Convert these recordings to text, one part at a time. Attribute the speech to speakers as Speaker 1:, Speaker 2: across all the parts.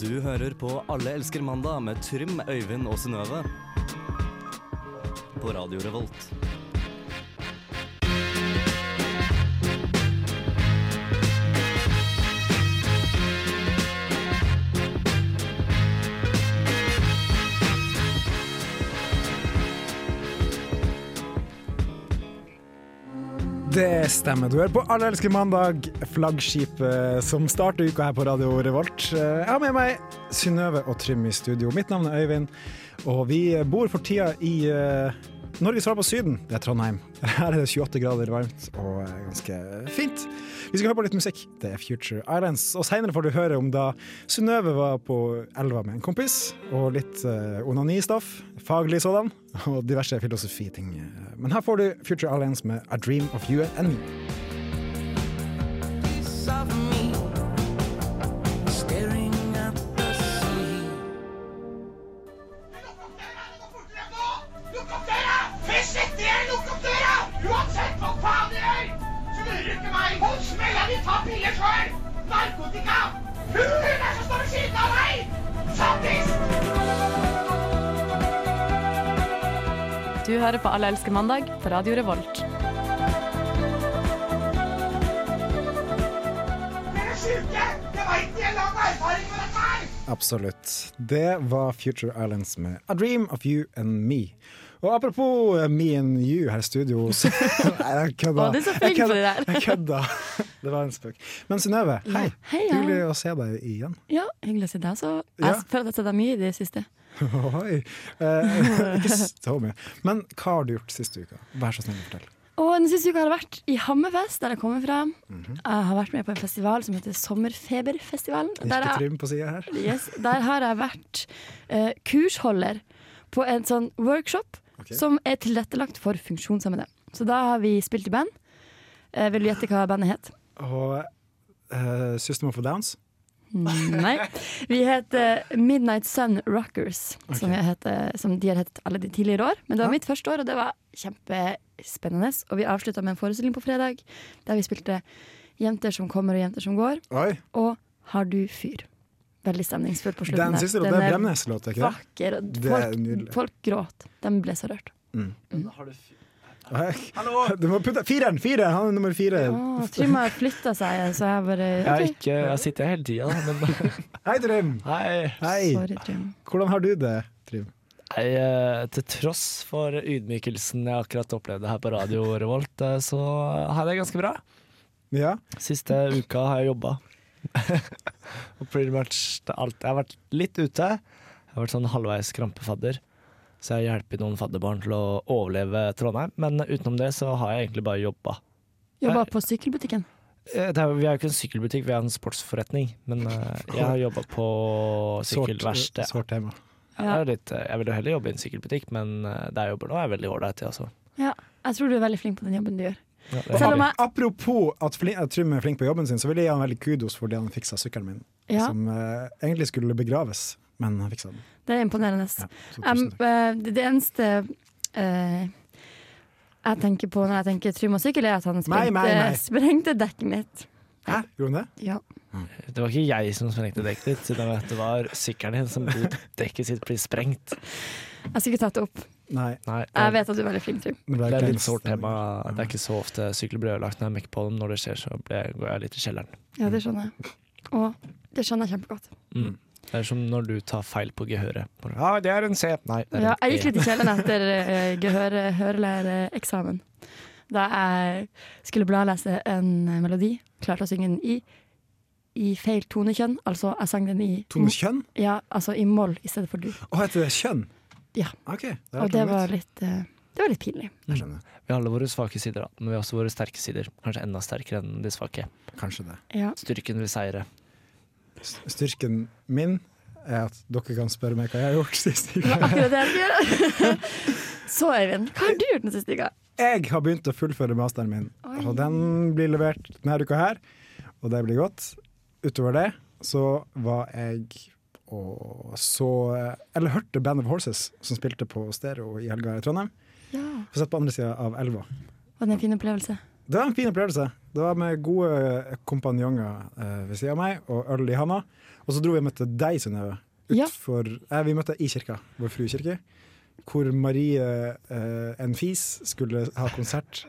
Speaker 1: Du hører på Alle elsker mandag med Trym, Øyvind og Synnøve. På Radio Revolt.
Speaker 2: Det stemmer. Du hører på Alle elsker mandag, flaggskipet som starter uka her på Radio Revolt. Jeg har med meg Synnøve og Trym i studio. Mitt navn er Øyvind, og vi bor for tida i eh, Norges svar på Syden. Det er Trondheim. Her er det 28 grader varmt og eh, ganske fint. Vi skal høre på litt musikk. Det er Future Islands. Og seinere får du høre om da Synnøve var på elva med en kompis, og litt eh, onanistoff, faglig sådan, og diverse filosofiting. Men her får du Future Islands med A Dream of You and Me.
Speaker 3: Lukk opp døra! Først etter jeg lukk opp døra! Uansett hva faen dere gjør! Så lurer du ikke meg! Hold smella di, ta piller sjøl! Narkotika! Hulen er som står ved siden av meg! Sattis!
Speaker 4: Du hører på Alle elsker mandag på Radio Revolt.
Speaker 3: Dere er sjuke! Jeg veit de har lang erfaring med dette her!
Speaker 2: Absolutt. Det var Future Islands med A Dream of You and Me. Og apropos eh, me and you her i studio så Nei, jeg kødda.
Speaker 4: Å, du er så
Speaker 2: Jeg
Speaker 4: flink til
Speaker 2: kødda.
Speaker 4: det der.
Speaker 2: Jeg kødda. Det var en spøk. Men Synnøve, hei.
Speaker 4: Hei, ja.
Speaker 2: Hyggelig å se deg igjen.
Speaker 4: Ja, hyggelig å se deg også. Jeg
Speaker 2: Ja.
Speaker 4: føler at jeg har sett deg mye i det siste.
Speaker 2: Oi. Eh, ikke så mye. Men hva har du gjort siste uka? Vær så snill å fortelle.
Speaker 4: Og den siste uka har jeg vært i Hammerfest, der jeg kommer fra. Jeg har vært med på en festival som heter Sommerfeberfestivalen. Der,
Speaker 2: Ikke
Speaker 4: jeg,
Speaker 2: trym på sida her.
Speaker 4: yes, der har jeg vært eh, kursholder på en sånn workshop
Speaker 2: Ok.
Speaker 4: som er tilrettelagt for funksjonshemmede. Så da har vi spilt i band. Eh, vil du gjette hva bandet het?
Speaker 2: Og eh, System of a Downs.
Speaker 4: Mm, Nei. Vi heter Midnight Sun Rockers, som,
Speaker 2: Ok.
Speaker 4: jeg heter, som de har hett alle de tidligere år. Men det var mitt første år, og det var kjempespennende. Og vi avslutta med en forestilling på fredag der vi spilte Jenter som kommer og jenter som går,
Speaker 2: Oi.
Speaker 4: og Har du fyr? Veldig stemningsfull på slutten.
Speaker 2: Den
Speaker 4: der.
Speaker 2: siste låta
Speaker 4: Den
Speaker 2: er Bremnes-låt, er ikke det?
Speaker 4: Vakker. og
Speaker 2: Det er
Speaker 4: Folk,
Speaker 2: nydelig.
Speaker 4: folk gråt. De ble så rørt.
Speaker 2: Hei. Du må putte Fireren! Fireren! Han er nummer fire.
Speaker 4: Å, Trym har flytta seg, så jeg bare
Speaker 5: Jeg, har
Speaker 4: OK.
Speaker 5: ikke, jeg sitter hele tida, men
Speaker 2: Hei, Trym!
Speaker 5: Nei,
Speaker 2: Hei.
Speaker 4: Sorry, Trym.
Speaker 2: Hvordan har du det, Trym?
Speaker 5: nei, eh, til tross for ydmykelsen jeg akkurat opplevde her på Radio Revolt, eh, så har jeg det ganske bra.
Speaker 2: Ja.
Speaker 5: Siste uka har jeg jobba. Og pretty much det alt. Jeg har vært litt ute. Jeg har vært sånn halvveis krampefadder. Så jeg hjelper noen fadderbarn til å overleve Trondheim. Men utenom det så har jeg egentlig bare jobba.
Speaker 4: Jobba på sykkelbutikken.
Speaker 5: Eh, Det er, vi er jo ikke en sykkelbutikk, vi er en sportsforretning. Men eh, jeg har jobba på sykkelverksted.
Speaker 2: Sårt tema.
Speaker 5: Ja. det er Litt, eh, jeg vil jo heller jobbe i en sykkelbutikk, men eh, der jeg jobber nå, er veldig ålreit. Altså.
Speaker 4: Ja, jeg tror du er veldig flink på den jobben du gjør.
Speaker 5: Ja, det er
Speaker 4: Selv om
Speaker 5: hyggelig.
Speaker 4: jeg
Speaker 2: Apropos at, flin, at Trym er flink på jobben sin, så vil jeg gi han veldig kudos fordi han fiksa sykkelen min.
Speaker 4: ja.
Speaker 2: Som eh, egentlig skulle begraves, men han fiksa den.
Speaker 4: Det er imponerende.
Speaker 2: Ja, så
Speaker 4: Em,
Speaker 2: tusen takk.
Speaker 4: eh, det det eneste eh, jeg tenker på når jeg tenker Trym og sykkel, er at han
Speaker 2: Nei,
Speaker 4: sprengte,
Speaker 2: nei, nei.
Speaker 4: sprengte dekket mitt.
Speaker 2: Hæ, gjorde han det?
Speaker 4: Ja.
Speaker 5: det var ikke jeg som sprengte dekket ditt, siden det var sykkelen din som lot dekket sitt bli sprengt.
Speaker 4: Jeg skulle ikke tatt det opp.
Speaker 2: Nei.
Speaker 5: Nei,
Speaker 4: Jeg
Speaker 5: det,
Speaker 4: vet at du er veldig flink, Trym.
Speaker 2: ble
Speaker 5: det er
Speaker 2: klein
Speaker 5: litt sårt
Speaker 2: stemning.
Speaker 5: tema. Det er ikke så ofte sykler blir ødelagt når jeg mekker på dem. Når det skjer, så blir- går jeg litt i kjelleren.
Speaker 4: Ja, det skjønner jeg. Og det skjønner jeg kjempegodt.
Speaker 5: Mm. Det er som når du tar feil på gehøret. Bare, Ja, det er en C. Nei, det er
Speaker 4: Ja,
Speaker 5: en
Speaker 4: jeg
Speaker 5: E.
Speaker 4: gikk litt i kjelleren etter eh, gehør- hørelæreeksamen. Da jeg skulle bladlese en eh, melodi, klarte å synge den i, i feil tonekjønn. Altså, jeg sang den i,
Speaker 2: Tones kjønn?
Speaker 4: ja, altså i moll i stedet for dur.
Speaker 2: Å, heter det kjønn?
Speaker 4: Ja.
Speaker 2: OK. Det
Speaker 4: Og det var litt, eh, det var litt pinlig.
Speaker 2: Jeg skjønner.
Speaker 5: E. Vi har alle våre svake sider, da, men vi har også våre sterke sider. Kanskje enda sterkere enn de svake.
Speaker 2: Kanskje det.
Speaker 4: Ja.
Speaker 5: Styrken vil seire.
Speaker 2: S- Styrken min er at dere kan spørre meg hva jeg har gjort sist uke.
Speaker 4: Akkurat det jeg skal gjøre. Så Øyvind, hva har du gjort den siste uka?
Speaker 2: Jeg har begynt å fullføre masteren min,
Speaker 4: Oi.
Speaker 2: og den blir levert denne uka her. Og det blir godt. Utover det så var jeg og så Eller hørte Band of Horses, som spilte på stereo i helga i Trondheim.
Speaker 4: Ja.
Speaker 2: Og satt på andre sida av elva.
Speaker 4: Var det en fin opplevelse?
Speaker 2: Det var en fin opplevelse. Det var med gode kompanjonger eh, ved siden av meg, og øl i handa. Og så dro vi og møtte deg, Synnøve.
Speaker 4: Ja.
Speaker 2: Utfor eh, Vi møtte i kirka, Vår Frue kirke, hvor Marie eh, en fis skulle ha konsert.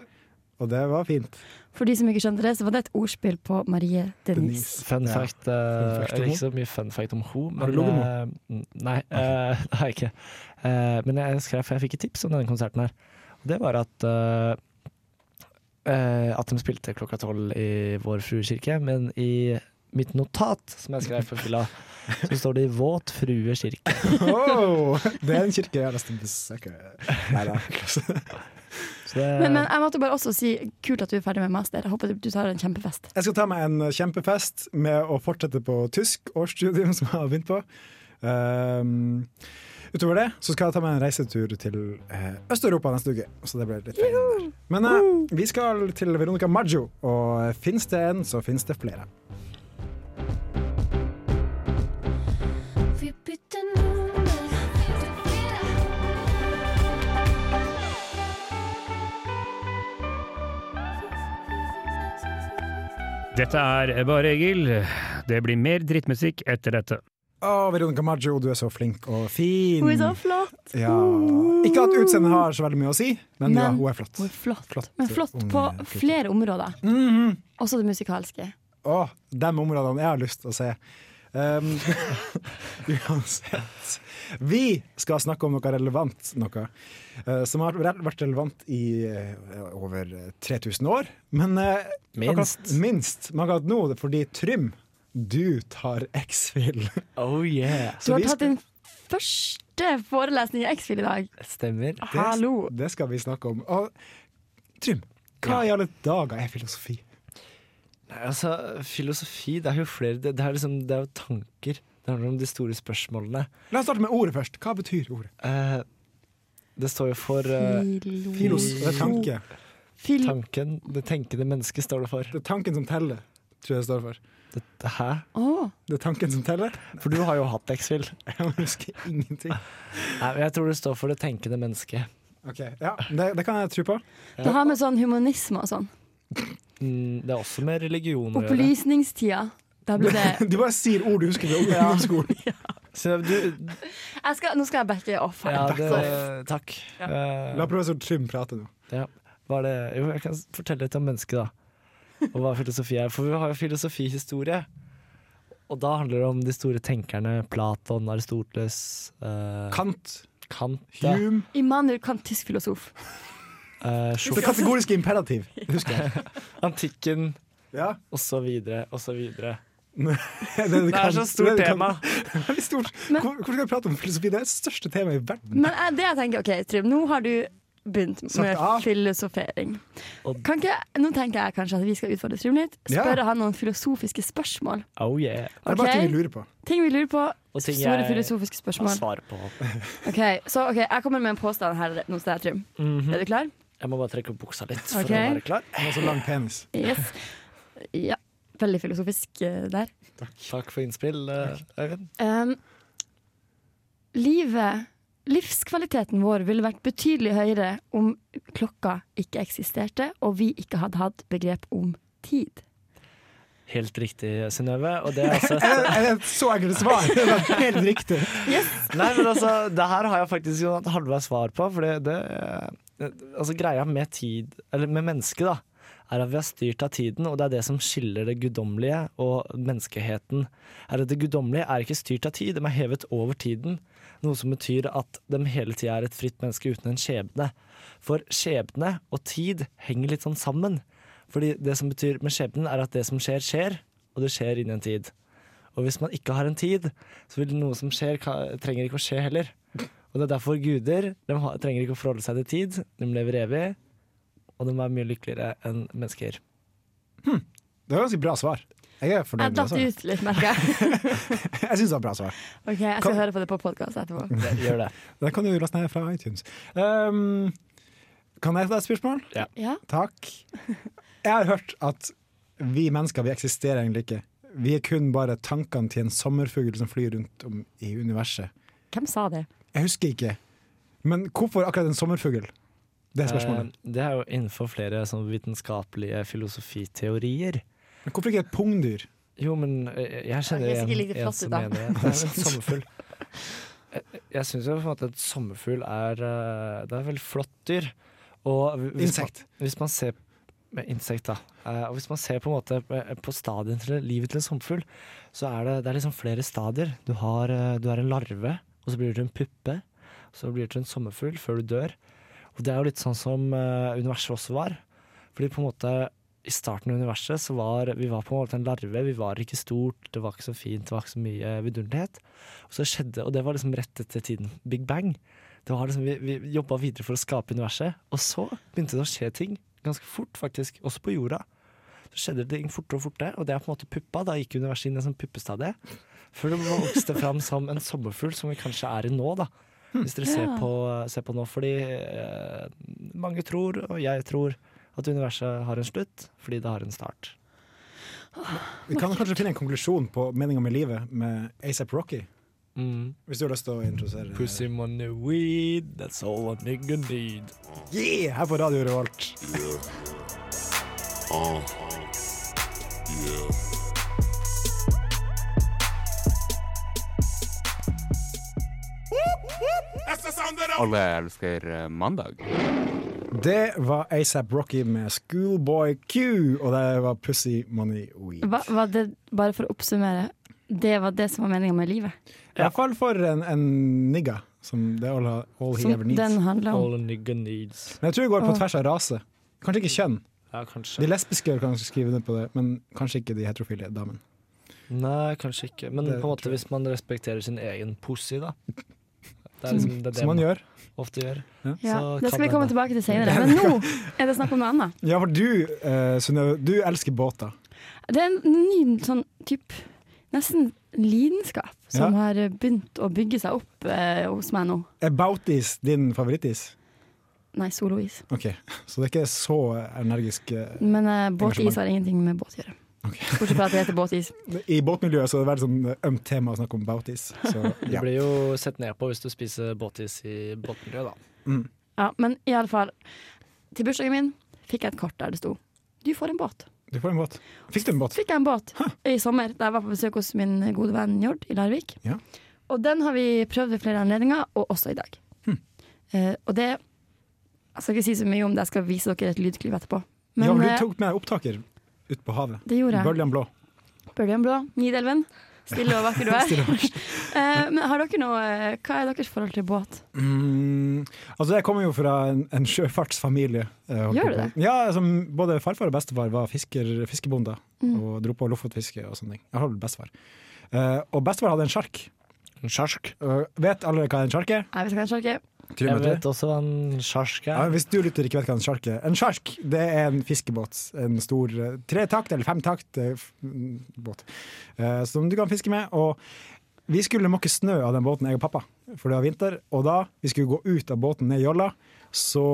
Speaker 2: Og det var fint.
Speaker 4: For de som ikke skjønte det, så var det et ordspill på Marie Denise.
Speaker 2: Denise.
Speaker 5: Fun
Speaker 2: Ja.
Speaker 5: fact,
Speaker 2: Fun
Speaker 5: eh,
Speaker 2: fact om
Speaker 5: Ikke så mye fun fact om ho
Speaker 2: Har du
Speaker 5: men,
Speaker 2: ligget
Speaker 5: eh, Nei, eh, det har jeg ikke. Eh, men jeg skrev, for jeg fikk et tips om denne konserten her. Og det var at eh, eh, At de spilte klokka tolv i Vår Frue kirke, men i mitt notat som jeg skrev på fylla, så står det i Våt frue kirke.
Speaker 2: Oh, det er en kirke jeg har lyst til å besøke. Nei da. Jeg
Speaker 5: Så det,
Speaker 4: Men, men jeg måtte bare også si kult at du er ferdig med master. Jeg håper du tar en kjempefest.
Speaker 2: skal ta meg en kjempefest med å fortsette på tysk årsstudium, som jeg har begynt på. Um, utover det så skal jeg ta meg en reisetur til eh, Øst-Europa neste uke. Så det blir litt feil. Men eh, vi skal til Veronica Maggio, og fins det en, så fins det flere.
Speaker 6: Vi bytter nummer.
Speaker 7: Dette er Bare Egil. Det blir mer drittmusikk etter dette.
Speaker 2: Å, Veronica Maggio, du er så flink og fin.
Speaker 4: Hun er så flott!
Speaker 2: Ja. Ikke at utseendet har så veldig mye å si, men, ja,
Speaker 4: Men-
Speaker 2: hun er flott.
Speaker 4: Hun er flott.
Speaker 2: Flott,
Speaker 4: Men flott
Speaker 2: unge
Speaker 4: på
Speaker 2: gutter.
Speaker 4: flere områder.
Speaker 2: Mhm.
Speaker 4: Også det musikalske.
Speaker 2: Å, de områdene jeg har lyst til å se. Um, uansett. Vi skal snakke om noe relevant, noe eh, som har re- vært relevant i eh, over 3000 år. Men eh,
Speaker 5: Minst.
Speaker 2: Akkurat, minst. Men akkurat nå, det er fordi Trym, du tar X-Fill.
Speaker 5: oh yeah!
Speaker 4: Du
Speaker 2: Så
Speaker 4: har
Speaker 2: vi
Speaker 4: tatt
Speaker 2: skal-
Speaker 4: din første forelesning i X-Fil i dag.
Speaker 5: Stemmer.
Speaker 4: Hallo!
Speaker 2: Det skal vi snakke om. Og Trym, hva i alle dager er filosofi?
Speaker 5: Nei, altså, filosofi, det er jo flere Det, det, er, liksom, det er jo tanker. Det handler om de store spørsmålene.
Speaker 2: La oss starte med ordet først. Hva betyr ordet?
Speaker 5: Eh, det står jo for eh,
Speaker 4: Filo.
Speaker 2: Filos, det er tanke.
Speaker 4: Fil
Speaker 5: tanken, det tenkende mennesket står det for.
Speaker 2: Det er tanken som teller, tror jeg det står for.
Speaker 5: Det, hæ?
Speaker 4: Å,
Speaker 2: Det er tanken som teller.
Speaker 5: For du har jo hatt X-Fil.
Speaker 2: Jeg husker ingenting.
Speaker 5: Nei, men Jeg tror det står for det tenkende mennesket.
Speaker 2: Ok, ja, det, det kan jeg tro på.
Speaker 4: Det har med sånn humanisme og sånn.
Speaker 5: Mm, det er også med religion å gjøre.
Speaker 4: Opplysningstida. Da blir det
Speaker 2: Du bare sier ord du husker fra ungdomsskolen.
Speaker 5: Så du,
Speaker 4: jeg skal, Nå skal jeg backe off. her.
Speaker 5: ja, det,
Speaker 4: Så-
Speaker 5: takk.
Speaker 2: La
Speaker 5: Eh,
Speaker 2: professor Trym prate nå.
Speaker 5: ja. Hva er det? Jo, jeg kan fortelle litt om mennesket, da. Og hva filosofi er. For vi har jo filosofihistorie. Og da handler det om de store tenkerne. Platon, Aristoteles, eh,
Speaker 2: Kant,
Speaker 5: Kant, ja.
Speaker 2: Hume
Speaker 4: Immanuel Kant, tysk filosof.
Speaker 5: eh,
Speaker 2: Det
Speaker 5: Schopenhauer,
Speaker 2: kategoriske imperativ, husker jeg.
Speaker 5: antikken
Speaker 2: Ja.
Speaker 5: og så videre og så videre.
Speaker 2: Det,
Speaker 5: Det er så stort tema.
Speaker 2: Det er litt stort.
Speaker 4: Men-
Speaker 2: Hvor, hvor skal vi prate om filosofi? Det er det største temaet i verden.
Speaker 4: Men eh, det jeg tenker, ok, Trym, nå har du begynt med
Speaker 2: Slapp av.
Speaker 4: filosofering.
Speaker 5: Og-
Speaker 4: Kan ikke, nå tenker jeg kanskje at vi skal utfordre Trym litt.
Speaker 2: Ja.
Speaker 4: Spørre han noen filosofiske spørsmål.
Speaker 5: Oh yeah.
Speaker 2: Det er bare ting
Speaker 4: Ok.
Speaker 2: vi lurer på.
Speaker 4: Ting vi lurer på.
Speaker 5: Og ting
Speaker 4: Store
Speaker 5: jeg-
Speaker 4: filosofiske spørsmål.
Speaker 5: Svar på.
Speaker 4: Ok, så ok, Jeg kommer med en påstand her nå til deg, Trym.
Speaker 5: Mhm.
Speaker 4: Er du klar?
Speaker 5: Jeg må bare trekke opp buksa litt for
Speaker 4: Ok.
Speaker 5: å være klar.
Speaker 2: Han har så lang penis.
Speaker 4: Yes. Ja. Veldig filosofisk eh, der.
Speaker 5: Takk for innspill, eh, Øyvind.
Speaker 4: Um, livet, livskvaliteten vår ville vært betydelig høyere om klokka ikke eksisterte, og vi ikke hadde hatt begrep om tid.
Speaker 5: Helt riktig, Synnøve. Og det er altså- også
Speaker 2: Er det- er det et så enkelt svar? Det er helt riktig.
Speaker 5: Nei, men altså, det her har jeg faktisk jo hatt halvveis svar på. For det, det Altså, greia med tid, eller med mennesket, da, er at vi er styrt av tiden, og det er det som skiller det guddommelige og menneskeheten. Er at det guddommelige er ikke styrt av tid, de er hevet over tiden. Noe som betyr at de hele tida er et fritt menneske uten en skjebne. For skjebne og tid henger litt sånn sammen. Fordi det som betyr med skjebnen, er at det som skjer, skjer, og det skjer innen en tid. Og hvis man ikke har en tid, så vil noe som skjer, ka- trenger ikke å skje heller. Og det er derfor guder de har, trenger ikke å forholde seg til tid. De lever evig, og de er mye lykkeligere enn mennesker.
Speaker 2: Det var ganske bra svar. Jeg er fornøyd
Speaker 4: Jeg
Speaker 2: med det
Speaker 4: datt
Speaker 2: svaret.
Speaker 4: ut litt, merker jeg.
Speaker 2: Jeg syns det var et bra svar.
Speaker 4: Ok,
Speaker 2: Kan-
Speaker 4: Jeg skal høre på det på podkast etterpå.
Speaker 5: Det gjør det.
Speaker 2: Den kan du laste ned fra iTunes. Um, kan jeg ta et spørsmål?
Speaker 4: Ja,
Speaker 2: Takk. Jeg har hørt at vi mennesker vi eksisterer egentlig ikke. Vi er kun bare tankene til en sommerfugl som flyr rundt om i universet.
Speaker 4: Hvem sa det?
Speaker 2: Jeg husker ikke. Men hvorfor akkurat en sommerfugl? Det er spørsmålet.
Speaker 5: Eh, Det er jo innenfor flere sånn vitenskapelige filosofiteorier.
Speaker 2: Men hvorfor ikke et pungdyr?
Speaker 5: Jo, men eh,
Speaker 4: Ok,
Speaker 5: jeg kjenner
Speaker 4: så ikke
Speaker 5: igjen
Speaker 4: ligger det
Speaker 5: en
Speaker 4: fast ut,
Speaker 5: som
Speaker 4: da.
Speaker 5: mener det. Det er en sommerfugl. Jeg- Jeg syns jo på en måte at sommerfugl er eh, Det er et veldig flott dyr. Og hvis
Speaker 2: Insekt.
Speaker 5: Man, hvis man ser med insekt, da. eh, Og hvis man ser på en måte eh, på stadien til livet til en sommerfugl, så er det, det er liksom flere stadier. Du, har, eh, du er en larve, og så blir du en puppe. Så blir du en sommerfugl før du dør. Og det er jo litt sånn som eh, universet også var. Fordi på en måte i starten av universet så var vi var på en måte en larve. Vi var ikke stort, det var ikke så fint, det var ikke så mye vidunderlighet. Og så skjedde, og det var liksom rett etter tiden. Big bang. Det var liksom, vi vi jobba videre for å skape universet, og så begynte det å skje ting. Ganske fort, faktisk. Også på jorda. Så skjedde det ting fortere og fortere, og det er på en måte puppa. Da gikk universet inn i en sånn puppestadie. Før det vokste fram som en sommerfugl, som vi kanskje er i nå, da. Hvis dere ser,
Speaker 4: Ja.
Speaker 5: på, ser på nå, fordi eh, mange tror, og jeg tror, at universet har en slutt fordi det har en start.
Speaker 2: Vi kan kanskje finne en konklusjon på meninga med livet med ASAP Rocky. Hvis du har lyst til å introdusere
Speaker 5: Pussy money weed, that's all a nigga need.
Speaker 2: Yeah, her på Radio Revolt.
Speaker 8: Alle elsker eh, mandag.
Speaker 2: Det var ASAP Rocky med Schoolboy Q, og det var Pussy Money Weed.
Speaker 4: Hva, var det, bare for å oppsummere, det var det som var meninga med livet.
Speaker 2: I hvert fall for en, en nigga, som det er all, all he
Speaker 4: Som
Speaker 2: ever needs.
Speaker 4: den handla om.
Speaker 5: All a nigga needs.
Speaker 2: Men jeg tror det går på
Speaker 4: Åh.
Speaker 2: tvers av rase. Kanskje ikke kjønn.
Speaker 5: Ja,
Speaker 2: De
Speaker 5: kanskje.
Speaker 2: lesbiske kan kanskje skrive under på det, men kanskje ikke de heterofile damene.
Speaker 5: Nei, kanskje ikke. Men
Speaker 2: Det
Speaker 5: på en måte
Speaker 2: tror jeg.
Speaker 5: hvis man respekterer sin egen pussy, da. Det er liksom det, er det
Speaker 2: Som man gjør.
Speaker 5: ofte gjør.
Speaker 4: Ja,
Speaker 5: Så
Speaker 4: det
Speaker 5: kan
Speaker 4: skal vi komme
Speaker 5: hende.
Speaker 4: tilbake til senere. Men nå er det snakk om noe annet.
Speaker 2: Ja, for du, eh, Synnøve, du elsker båter.
Speaker 4: Det er en ny sånn type Nesten lidenskap som
Speaker 2: Ja.
Speaker 4: har begynt å bygge seg opp eh, hos meg nå.
Speaker 2: Er bautis din favorittis?
Speaker 4: Nei, solois.
Speaker 2: Ok, så det er ikke så energisk. eh,
Speaker 4: Men eh, båtis har ingenting med båt å gjøre. Bortsett fra at det heter båtis.
Speaker 2: I båtmiljøet så er det veldig sånn ømt tema å snakke om bautis. Så,
Speaker 5: Du
Speaker 2: ja.
Speaker 5: blir jo sett ned på hvis du spiser båtis i båtmiljøet, da.
Speaker 4: Ja, men i alle fall Til bursdagen min fikk jeg et kort der det sto 'Du får en båt'.
Speaker 2: Du får en båt. Fikk du en båt?
Speaker 4: Fikk jeg en båt i sommer da jeg var på besøk hos min gode venn Njord i Larvik.
Speaker 2: Ja.
Speaker 4: Og den har vi prøvd ved flere anledninger, og også i dag.
Speaker 2: Hm.
Speaker 4: Eh, og det Jeg skal ikke si så mye om det, jeg skal vise dere et lydklipp etterpå. Men
Speaker 2: ja, for
Speaker 4: eh,
Speaker 2: du tok med opptaker ut på havet.
Speaker 4: det gjorde jeg.
Speaker 2: Bøljan blå.
Speaker 4: Bølgen blå, Nidelven. Stille og vakker du er. Eh, men har dere noe eh, Hva er deres forhold til båt?
Speaker 2: Mm, altså jeg kommer jo fra en, en sjøfartsfamilie. eh, holdt
Speaker 4: Gjør
Speaker 2: jeg
Speaker 4: du
Speaker 2: på. Ja, altså, både farfar og bestefar var fisker, fiskebonder
Speaker 4: Mm.
Speaker 2: og dro på lofotfiske og sånne ting. Jeg har vel bestefar. Eh, og bestefar hadde en sjark.
Speaker 5: En sjarsk.
Speaker 2: Eh, vet alle hva en sjark er?
Speaker 4: Jeg vet kanskje ikke.
Speaker 5: Jeg vet også hva en sjarsk
Speaker 2: Ja,
Speaker 5: er.
Speaker 2: hvis du lytter ikke vet hva en sjark er. En sjark det er en fiskebåt. En stor eh, tretakt eller femtakt eh, f- mm, båt eh, som du kan fiske med. Og vi skulle måke snø av den båten, jeg og pappa, for det var vinter. Og da vi skulle gå ut av båten ned i jolla, så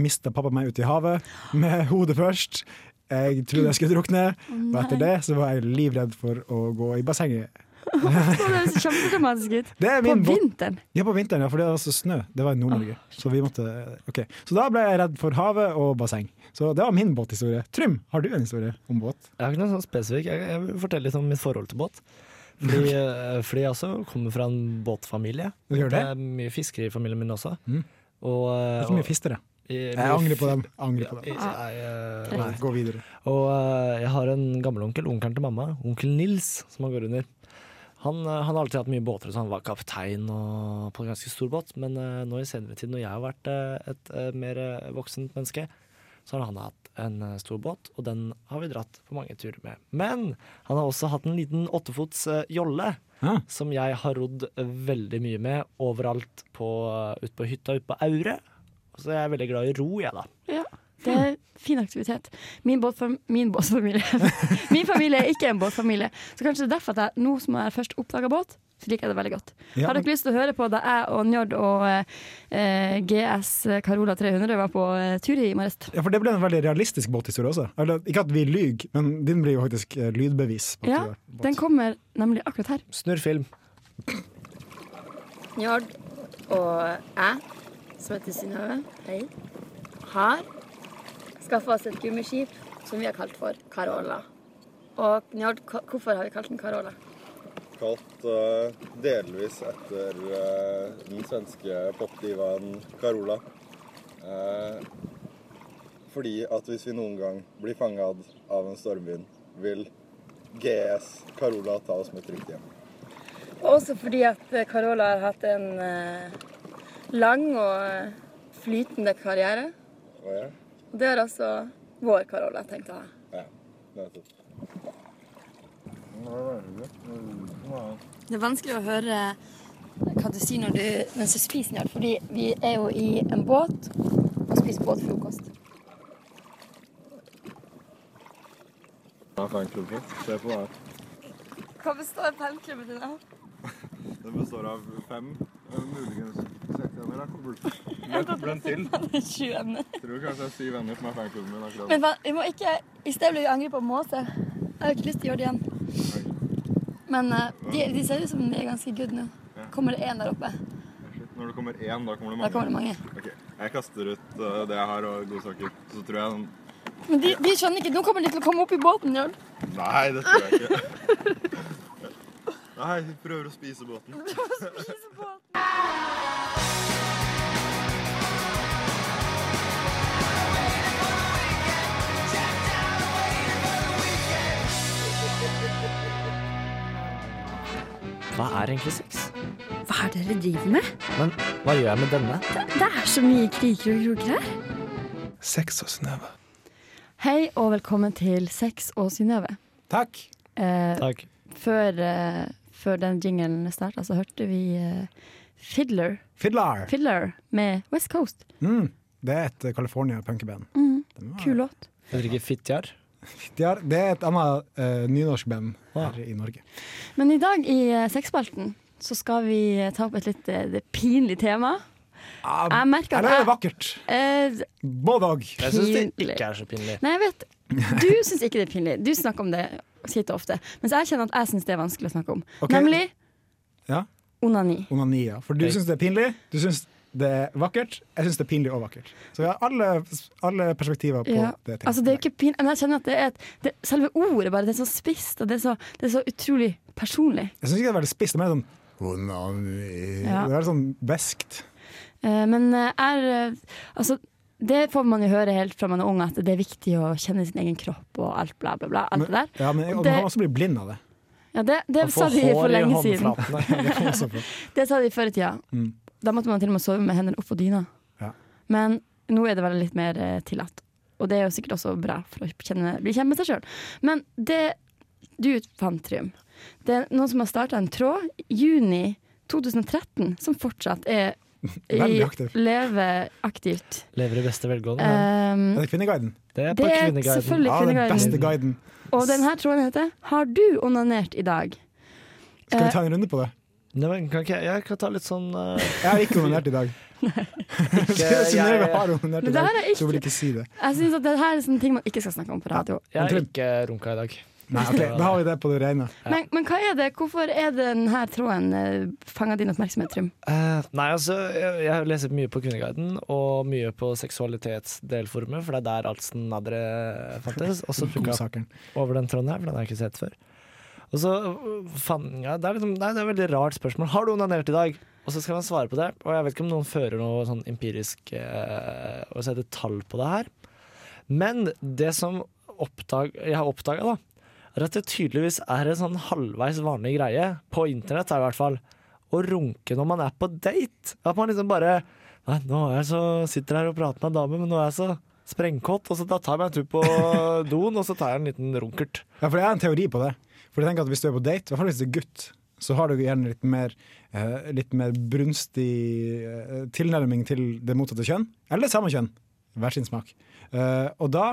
Speaker 2: mista pappa meg ut i havet med hodet først. Jeg trodde jeg skulle drukne, og etter det så var jeg livredd for å gå i bassenget.
Speaker 4: Det høres kjempedramatisk ut.
Speaker 2: Det er
Speaker 4: På
Speaker 2: min båt.
Speaker 4: vinteren.
Speaker 2: Ja, på vinteren, ja, for det var altså snø. Det var i
Speaker 4: Ah.
Speaker 2: Nord-Norge. Så vi måtte Ok. Så da ble jeg redd for havet og basseng. Så det var min båthistorie. Trym, har du en historie om båt?
Speaker 5: Jeg har ikke noe sånn spesifikk. Jeg, jeg vil fortelle litt om mitt forhold til båt. Fordi, eh, fordi jeg også kommer fra en båtfamilie.
Speaker 2: Du gjør
Speaker 5: Det
Speaker 2: det?
Speaker 5: er mye fiskere i familien min også.
Speaker 2: Mm.
Speaker 5: Og,
Speaker 2: Det er
Speaker 5: eh,
Speaker 2: så mye fistere.
Speaker 5: og- i-
Speaker 2: Jeg angrer på dem. Jeg Angrer på
Speaker 5: I-
Speaker 2: dem.
Speaker 5: nei, eh,
Speaker 4: Ja.
Speaker 5: nei.
Speaker 2: Gå videre.
Speaker 5: Og eh, jeg har en gammelonkel, onkelen til mamma, onkel Nils, som han går under. Han, eh, han har alltid hatt mye båter, så han var kaptein og på en ganske stor båt. Men eh, nå i senere tid, når jeg har vært eh, et eh, mer eh, voksent menneske, så har han hatt en eh, stor båt, og den har vi dratt på mange turer med. Men han har også hatt en liten åttefots eh, jolle,
Speaker 2: Ah.
Speaker 5: som jeg har rodd eh, veldig mye med overalt på, ut på hytta ute på Aure. Så jeg er veldig glad i ro, jeg, da.
Speaker 4: Ja, det er fin aktivitet. Min, båtfam min båtfamilie Min familie er ikke en båtfamilie, så kanskje det er derfor at jeg nå som jeg først oppdaga båt, så liker jeg det veldig godt.
Speaker 2: Ja,
Speaker 4: Har dere lyst til å høre på da jeg og Njord og eh, GS Carola 300 var på eh, tur i morges?
Speaker 2: Ja, for det ble en veldig realistisk båthistorie også. Eller, ikke at vi lyver, men din blir jo faktisk eh, lydbevis. På at
Speaker 4: Ja,
Speaker 2: du er båt.
Speaker 4: den kommer nemlig akkurat her.
Speaker 5: Snurr film.
Speaker 4: Njord og jeg, som heter Synnøve, hei, har skaffa oss et gummiskip som vi har kalt for Carola. Og Njord, hva- hvorfor har vi kalt den Carola?
Speaker 9: Kalt eh, delvis etter eh, den svenske popdivaen Carola. Eh, fordi at hvis vi noen gang blir fanget av en stormvind, vil GS Carola ta oss med trygt hjem.
Speaker 4: Og også fordi at eh, Carola har hatt en eh, lang og eh, flytende karriere.
Speaker 9: Og ja,
Speaker 4: Og det har også vår Carola tenkt å ha.
Speaker 9: ja, nettopp.
Speaker 4: Det er vanskelig å høre hva du sier når du mens du spiser, Njord, fordi vi er jo i en båt og spiser båtfrokost.
Speaker 9: Jeg fant klubben. Se på meg.
Speaker 4: Hva består pelklubben din av?
Speaker 9: Den består av fem, eh, muligens seks venner. til.
Speaker 4: Sju emner.
Speaker 9: Tror kanskje det er syv venner som er fanklubben min akkurat
Speaker 4: Men faen, vi må ikke I sted ble vi angrepet av måse. Jeg har ikke lyst til å gjøre det igjen. Men eh, de, de ser ut som de er ganske good nå. Kommer det én der oppe?
Speaker 9: Når det kommer én, da kommer det
Speaker 4: Da kommer det mange.
Speaker 9: Ok, Jeg kaster ut eh, det jeg har og godsaker. Så tror jeg sånn, den
Speaker 4: Men de, de skjønner ikke. Nå kommer de til å komme opp i båten, Jørn.
Speaker 9: Nei, det tror jeg ikke. Nei, hun prøver å spise båten.
Speaker 5: Hva er egentlig sex?
Speaker 10: Hva er det dere driver med?
Speaker 5: Men hva gjør jeg med denne?
Speaker 10: Det er så mye kriker og kroker her.
Speaker 5: Sex og Synnøve.
Speaker 4: Hei og velkommen til Sex og Synnøve.
Speaker 2: Takk.
Speaker 4: Eh,
Speaker 5: Takk.
Speaker 4: før, eh, før den jingelen starta, så hørte vi eh, Fiddler.
Speaker 2: Fiddler.
Speaker 4: Fiddler med West Coast.
Speaker 2: Mm. Det er et eh, California punkeband.
Speaker 4: Kul låt.
Speaker 5: Jeg drikker fittjar.
Speaker 2: De har- Det er et annet eh, nynorsk band
Speaker 5: Ja.
Speaker 2: her i Norge.
Speaker 4: Men i dag i eh, sexspalten så skal vi eh, ta opp et litt eh, det pinlig tema.
Speaker 2: Ah,
Speaker 4: Jeg merker
Speaker 2: Eller er det
Speaker 4: at
Speaker 2: vakkert?
Speaker 4: jeg eh,
Speaker 2: Både òg.
Speaker 5: Jeg syns det
Speaker 4: Pinlig.
Speaker 5: ikke er så pinlig.
Speaker 4: Nei, jeg vet Du syns ikke det er pinlig. Du snakker om det titt og ofte. Mens jeg kjenner at jeg syns det er vanskelig å snakke om.
Speaker 2: Ok.
Speaker 4: Nemlig
Speaker 2: Ja.
Speaker 4: onani.
Speaker 2: Onani, ja. For du
Speaker 5: Hei.
Speaker 2: syns det er pinlig. Du syns det er vakkert. Jeg syns det er pinlig og vakkert. Så vi har alle, alle perspektiver på
Speaker 4: Ja.
Speaker 2: det. temaet.
Speaker 4: Altså, det er jo ikke pin men jeg kjenner at det er et, det, selve ordet bare, det er så spisst, og det er så, det er så utrolig personlig.
Speaker 2: Jeg syns ikke det er veldig spisst. Det er mer sånn Onani.
Speaker 4: Ja.
Speaker 2: Det er veldig sånn beskt.
Speaker 4: Eh, men eh, er eh, Altså, det får man jo høre helt fra man er ung, at det er viktig å kjenne sin egen kropp og alt bla, bla, bla. Alt det der.
Speaker 2: Ja, men
Speaker 4: Og
Speaker 2: og
Speaker 4: det-
Speaker 2: Man kan også bli blind av det.
Speaker 4: Ja, det, det
Speaker 5: Å få
Speaker 4: sa de for
Speaker 5: hår i
Speaker 4: lenge siden.
Speaker 5: håndflatene.
Speaker 2: Det kan også få-
Speaker 4: Det sa de før i tida. Da måtte man til og med sove med hendene oppå dyna.
Speaker 2: Mm. Ja.
Speaker 4: Men nå er det vel litt mer eh, tillatt. Og det er jo sikkert også bra for å kjenne, bli kjent med seg sjøl. Men det du fant, Trym, det er noen som har starta en tråd i juni 2013 som fortsatt er i,
Speaker 2: Veldig aktiv.
Speaker 4: leve aktivt.
Speaker 5: Lever i beste velgående.
Speaker 10: Eh,
Speaker 4: Um,
Speaker 2: Er det Kvinneguiden?
Speaker 5: det er
Speaker 4: det
Speaker 5: på
Speaker 4: er
Speaker 5: Kvinneguiden.
Speaker 4: selvfølgelig
Speaker 2: Ja, den beste
Speaker 4: Kvinneguiden.
Speaker 2: guiden.
Speaker 4: Og denne tråden heter 'Har du onanert i dag?'
Speaker 2: Skal vi ta en runde på det?
Speaker 5: Nei, men kan ikke, jeg- jeg kan ta litt sånn eh,
Speaker 2: Jeg har ikke onanert i dag. Synnøve har onanert i
Speaker 4: Eh, Men det
Speaker 2: dag,
Speaker 4: her er
Speaker 2: så hun vil
Speaker 4: ikke
Speaker 2: ikke si det.
Speaker 4: Jeg synes at det her er sånne ting man ikke skal snakke om på radio.
Speaker 5: Jeg
Speaker 2: Men
Speaker 5: har
Speaker 2: Trym-
Speaker 5: ikke runka i dag.
Speaker 2: Nei, ok, Da har vi det på det rene.
Speaker 4: Men, men hva er det? Hvorfor er denne tråden eh, fanga din oppmerksomhet, Trym?
Speaker 5: Eh, nei, altså, jeg, jeg leser mye på Kvinneguiden, og mye på seksualitetsdelforumet, for det er der alt snadderet fantes. Og så dukka jeg
Speaker 2: Godsakeren.
Speaker 5: opp over den tråden her, for den har jeg ikke sett før. Og så øh, fant jeg det er, liksom, nei, det er et veldig rart spørsmål. Har du onanert i dag? Og så skal man svare på det. Og jeg vet ikke om noen fører noe sånn empirisk eh, Hva heter det, tall på det her. Men det som oppdag, jeg har oppdaga, da, er at det tydeligvis er en sånn halvveis vanlig greie, på internett da, i hvert fall, å runke når man er på date. At man liksom bare Nei, nå er jeg så, sitter her og prater med en dame, men nå er jeg så sprengkåt, og så da tar jeg meg en tur på doen, og så tar jeg en liten runkert.
Speaker 2: Ja, for jeg har en teori på det. For jeg tenker at Hvis du er på date, i hvert fall hvis du er gutt, så har du gjerne litt mer, eh, litt mer brunstig eh, tilnærming til det motsatte kjønn. Eller samme kjønn. Hver sin smak. Eh, og da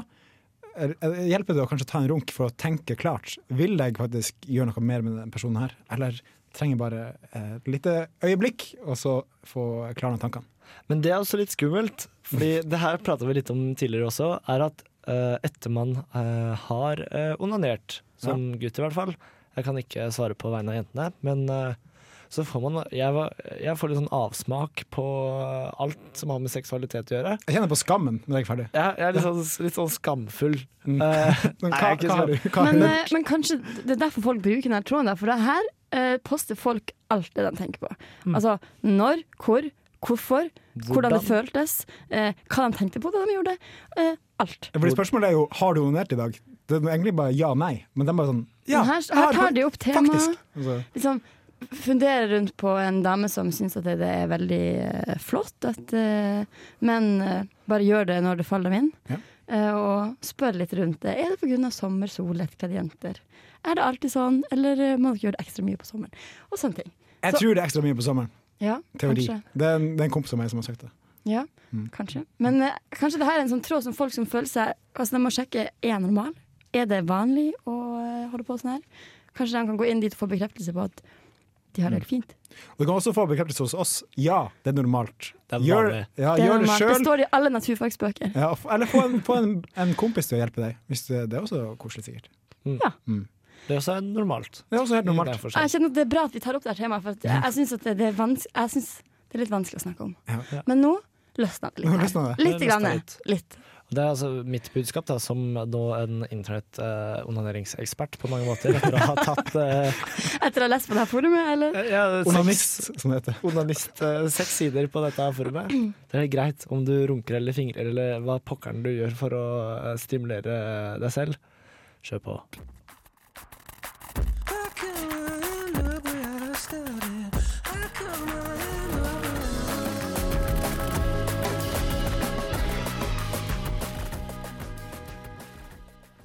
Speaker 2: eh, hjelper det å kanskje ta en runk for å tenke klart. Vil jeg faktisk gjøre noe mer med den personen her? Eller trenger jeg bare eh, et lite øyeblikk, og så få klarna tankene?
Speaker 5: Men det er også litt skummelt, fordi det her prata vi litt om tidligere også, er at eh, etter man eh, har eh, onanert, som gutt i hvert fall Jeg kan ikke svare på vegne av jentene, men eh, så får man jeg, var, jeg får litt sånn avsmak på alt som har med seksualitet å gjøre.
Speaker 2: Jeg kjenner på skammen når jeg er ferdig.
Speaker 5: Jeg, jeg er litt sånn, litt sånn skamfull. Eh,
Speaker 2: Men
Speaker 5: nei,
Speaker 2: hva-
Speaker 5: jeg er ikke
Speaker 2: hva har du-
Speaker 5: så-
Speaker 2: hva har
Speaker 4: Men, eh, men kanskje det er derfor folk bruker denne tråden. Der, for det her eh, poster folk alt det de tenker på. Altså når, hvor, hvorfor, hvordan, det
Speaker 2: Hvordan?
Speaker 4: føltes, eh, hva de tenkte på da de gjorde det. Eh, alt.
Speaker 2: Fordi spørsmålet er jo har du onanert i dag. Det er egentlig bare ja nei. Men de bare sånn ja,
Speaker 4: Men her,
Speaker 2: jeg har
Speaker 4: her tar de opp temaet.
Speaker 2: Altså,
Speaker 4: Liksom, Fundere rundt på en dame som syns at det det er veldig eh, flott at eh, menn eh, bare gjør det når det faller dem inn.
Speaker 2: Ja.
Speaker 4: Eh, og spør litt rundt det. Er det pga. sommer, sol, lettkledde jenter? Er det alltid sånn, eller eh, må dere gjøre det ekstra mye på sommeren? Og sånne ting.
Speaker 2: jeg
Speaker 4: Så-
Speaker 2: tror det er ekstra mye på sommeren.
Speaker 4: Ja,
Speaker 2: Teori.
Speaker 4: kanskje.
Speaker 2: Det er, en, det er en kompis av meg som har sagt det.
Speaker 4: Ja,
Speaker 2: Mm.
Speaker 4: kanskje. Men eh, kanskje det her er en sånn tråd som folk som føler seg Altså, de må sjekke er jeg normal. Er det vanlig å eh, holde på sånn her? Kanskje de kan gå inn dit og få bekreftelse på at de
Speaker 2: Mm.
Speaker 4: har det helt fint.
Speaker 2: Du kan også få bekreftelse hos oss. Ja, det er normalt.
Speaker 5: Det er
Speaker 2: gjør,
Speaker 5: vanlig.
Speaker 2: ja,
Speaker 4: det, er
Speaker 2: gjør det
Speaker 4: normalt. det
Speaker 2: sjøl.
Speaker 4: står i alle naturfagsbøker.
Speaker 2: Ja, f- eller få en, få en, en kompis til å hjelpe deg. Hvis det, det er også koselig, sikkert.
Speaker 5: Det er også normalt.
Speaker 2: Det er også helt
Speaker 5: Det er
Speaker 2: normalt.
Speaker 5: for seg.
Speaker 4: Jeg kjenner at Det er bra at vi tar opp det her temaet, for at jeg, jeg syns det, det, er vans- jeg synes det er litt vanskelig å snakke om.
Speaker 2: Ja.
Speaker 4: Men nå løsna det
Speaker 2: Nå
Speaker 4: litt.
Speaker 2: løsna
Speaker 4: Her.
Speaker 2: det.
Speaker 5: Nå
Speaker 4: Litt.
Speaker 5: løsna
Speaker 4: Grann,
Speaker 5: litt.
Speaker 4: litt.
Speaker 5: Det er altså mitt budskap da, som nå en internett-onaneringsekspert på mange måter, etter å ha tatt eh,
Speaker 4: Etter å ha lest på det her forumet, eller?
Speaker 5: ja, seks-
Speaker 2: Onanist, som det heter.
Speaker 5: Onanist. eh, Seks sider på dette her forumet. Det er greit om du runker eller fingrer eller hva pokkeren du gjør for å eh, stimulere deg selv. Kjør på.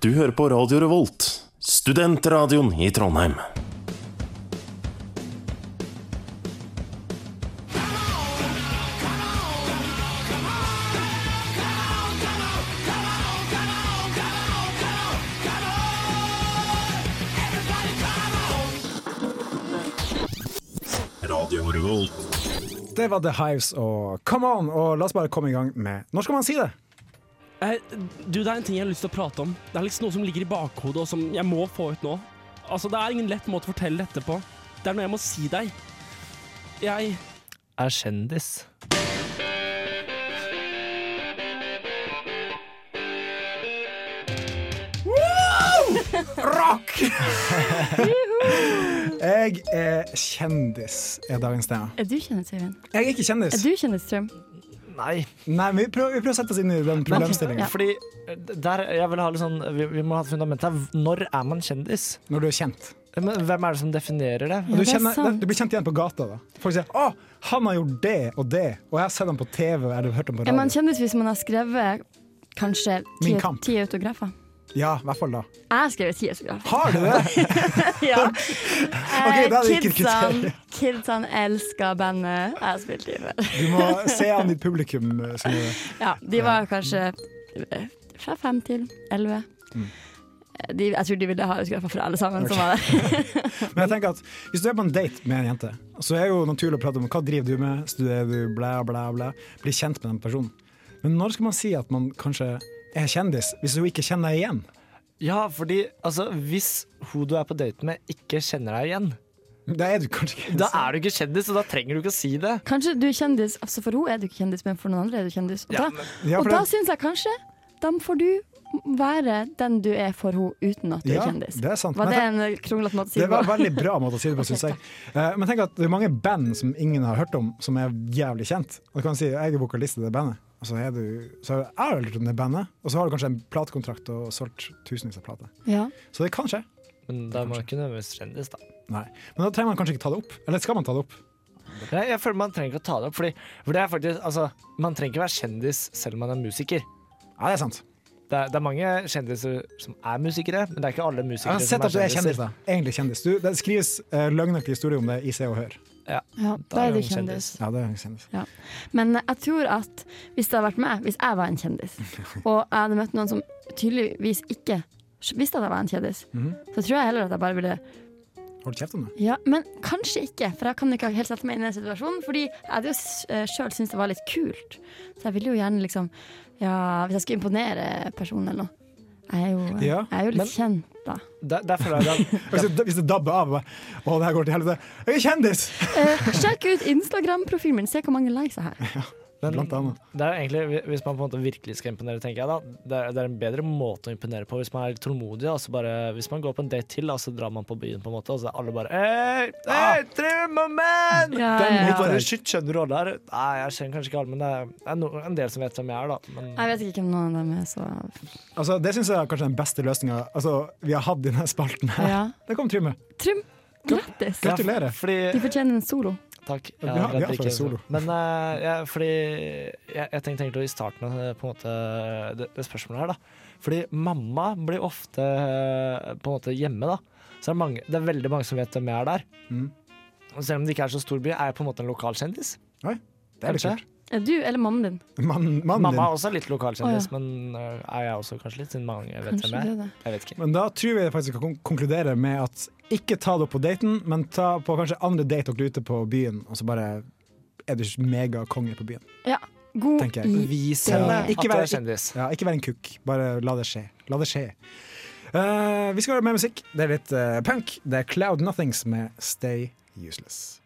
Speaker 11: Du hører på Radio Revolt, studentradioen i Trondheim. Radio Revolt.
Speaker 2: Det var The Hives og Come On, og la oss bare komme i gang med Når skal man si det?
Speaker 12: Eh, du, det er en ting jeg har lyst til å prate om. Det er liksom noe som ligger i bakhodet, og som jeg må få ut nå. Altså, det er ingen lett måte å fortelle dette på. Det er noe jeg må si deg. Jeg
Speaker 5: Er kjendis.
Speaker 2: Rock! Jeg er kjendis, er dagens tema.
Speaker 4: Er du kjendis, Øyvind?
Speaker 2: Jeg er ikke kjendis.
Speaker 4: Er du kjendis, Trym?
Speaker 5: Nei.
Speaker 2: Nei, men vi prøver, vi prøver å sette oss inn i den
Speaker 5: Men,
Speaker 2: problemstillingen.
Speaker 5: Fordi eh, der, jeg vil ha litt sånn, vi, vi må ha et fundament her. Når er man kjendis?
Speaker 2: Når du er kjent.
Speaker 5: Eh, Men hvem er det som definerer det?
Speaker 2: Og du, kjenner, du blir kjent igjen på gata. da Folk sier 'Å, han har gjort det og det', og jeg har sett ham på TV eller hørt ham på
Speaker 4: Er man
Speaker 2: radio.
Speaker 4: kjendis hvis man har skrevet kanskje ti,
Speaker 2: Min kamp.
Speaker 4: ti autografer?
Speaker 2: Ja, i hvert fall da.
Speaker 4: Jeg har skrevet ti autografer.
Speaker 2: Har du det?
Speaker 4: ja.
Speaker 2: Ok, da er det ikke et
Speaker 4: kidsene,
Speaker 2: kriterium.
Speaker 4: kidsene elsker bandet jeg har spilt i før.
Speaker 2: Du må se an ditt publikum. eh, Som gjør det.
Speaker 4: Ja, de var kanskje eh, fra fem til elleve. Eh,
Speaker 2: Mm.
Speaker 4: De, jeg tror de ville ha autografer fra alle sammen som var der.
Speaker 2: Men jeg tenker at hvis du er på en date med en jente, så er det jo naturlig å prate om hva driver du med, studerer du, blæ, blæ, blæ. Bli kjent med den personen. Men når skal man si at man kanskje er kjendis, hvis hun ikke kjenner deg igjen?
Speaker 5: Ja, fordi altså, hvis hun du er på date med, ikke kjenner deg igjen,
Speaker 2: Da er du kanskje ikke
Speaker 5: da er du ikke kjendis, og da trenger du ikke å si det.
Speaker 4: Kanskje du er kjendis, altså for henne er du ikke kjendis, men for noen andre er du kjendis. Og da,
Speaker 2: Ja,
Speaker 4: og
Speaker 2: for
Speaker 4: da
Speaker 2: det-
Speaker 4: syns jeg kanskje da får du være den du er for henne uten at du
Speaker 2: Ja,
Speaker 4: er kjendis.
Speaker 2: det er sant.
Speaker 4: Var
Speaker 2: Men
Speaker 4: det en eh, kronglete måte å si
Speaker 2: Det
Speaker 4: det
Speaker 2: var
Speaker 4: på?
Speaker 2: en veldig bra måte å si det på, syns jeg. Eh, Men tenk at det er mange band som ingen har hørt om, som er jævlig kjent. Og du kan si jeg er vokalist i det bandet, og så er du Så jeg har hørt om det bandet, og så har du kanskje en platekontrakt og solgt tusenvis av plater.
Speaker 4: Ja.
Speaker 2: Så det kan skje.
Speaker 5: Men da er man ikke nødvendigvis kjendis, da.
Speaker 2: Nei. Men da trenger man kanskje ikke ta det opp. Eller skal man ta det opp?
Speaker 5: Jeg, jeg føler man trenger ikke å ta det opp, fordi, for det er faktisk, altså, man trenger ikke være kjendis selv om man er musiker.
Speaker 2: Ja, det er sant.
Speaker 5: Det er, det er mange kjendiser som er musikere, men det er ikke alle
Speaker 2: Jeg
Speaker 5: musikere
Speaker 2: har
Speaker 5: som
Speaker 2: sett
Speaker 5: er
Speaker 2: at du er kjendis,
Speaker 5: kjendiser.
Speaker 2: da. Egentlig kjendis. Du, det skrives uh, løgnaktig historie om det i Se og Hør.
Speaker 5: Ja,
Speaker 4: Ja, da er du kjendis.
Speaker 2: Ja, det er kjendis.
Speaker 4: Men eh, jeg tror at hvis det hadde vært meg, hvis jeg var en kjendis, og jeg hadde møtt noen som tydeligvis ikke visste at jeg var en kjendis,
Speaker 2: Mhm.
Speaker 4: så tror jeg heller at jeg bare ville
Speaker 2: Hold kjeft om det.
Speaker 4: Ja, men kanskje ikke, for jeg kan ikke helt sette meg inn i den situasjonen. Fordi jeg hadde jo s- eh, sjøl syntes det var litt kult. Så jeg ville jo gjerne liksom Ja, hvis jeg skulle imponere personen eller noe. Jeg er jo,
Speaker 2: Ja,
Speaker 4: jeg er jo litt
Speaker 5: men-
Speaker 4: kjent, da.
Speaker 5: Der, der føler jeg det.
Speaker 2: Hvis det, hvis det dabber av bare, Å, det her går til helvete. Jeg er kjendis!
Speaker 4: Eh, sjekk ut Instagram-profilen min, se hvor mange likes jeg har.
Speaker 5: Men Det er egentlig, hvis man på en måte virkelig skal imponere, tenker jeg da, det er, det er en bedre måte å imponere på hvis man er litt tålmodig. da, så bare, hvis man går på en date til, da, så drar man på byen, på en måte, og så er alle bare Hei, hei, Trym og menn!
Speaker 4: Ah!» Ja, ja,
Speaker 5: Den
Speaker 4: ja.
Speaker 5: blir bare, Shit, skjønner du hva det er? Nei, jeg skjønner kanskje ikke alle, men det er, det er no, en del som vet hvem jeg er, da. Men
Speaker 4: Jeg vet ikke hvem noen av dem er, så
Speaker 2: Altså, det syns jeg er kanskje den beste løsninga altså, vi har hatt i denne spalten. her.
Speaker 4: Ja.
Speaker 2: Det kom Trym med.
Speaker 4: Trym, grattis!
Speaker 2: Gratulerer.
Speaker 4: De fortjener en solo.
Speaker 5: Takk.
Speaker 2: Ja, vi har- vi har
Speaker 5: ikke-
Speaker 2: faktisk solo.
Speaker 5: Men eh, jeg, fordi jeg, jeg tenkte egentlig i starten eh, på en måte det, det spørsmålet her, da. Fordi mamma blir ofte eh, på en måte hjemme, da. Så er det, mange, det er veldig mange som vet hvem jeg er der.
Speaker 2: Mm.
Speaker 5: Og selv om det ikke er så stor by, er jeg på en måte en lokalkjendis.
Speaker 2: Oi, det er litt kult.
Speaker 4: Er du eller mannen din?
Speaker 2: Mann- mannen
Speaker 5: Mamma
Speaker 2: din.
Speaker 5: er også litt
Speaker 4: Å,
Speaker 5: lokalkjendis,
Speaker 4: ja.
Speaker 5: men eh, er jeg også kanskje litt, siden mange vet
Speaker 4: Kanskje
Speaker 5: hvem
Speaker 4: det
Speaker 5: jeg
Speaker 4: er
Speaker 5: er.
Speaker 4: det.
Speaker 5: Jeg vet ikke.
Speaker 2: Men da tror jeg faktisk vi kan kon- konkludere med at ikke ta det opp på daten, men ta på kanskje andre date dere er ute på byen, og så bare er du megakonge på byen.
Speaker 4: Ja. God
Speaker 2: tenker jeg.
Speaker 4: i
Speaker 2: Ja.
Speaker 4: det.
Speaker 2: eh, Ikke være- Ja, ikke vær en kukk. Bare la det skje. La det skje. Eh, vi skal høre mer musikk. Det er litt eh, punk. Det er Cloud Nothings med Stay Useless.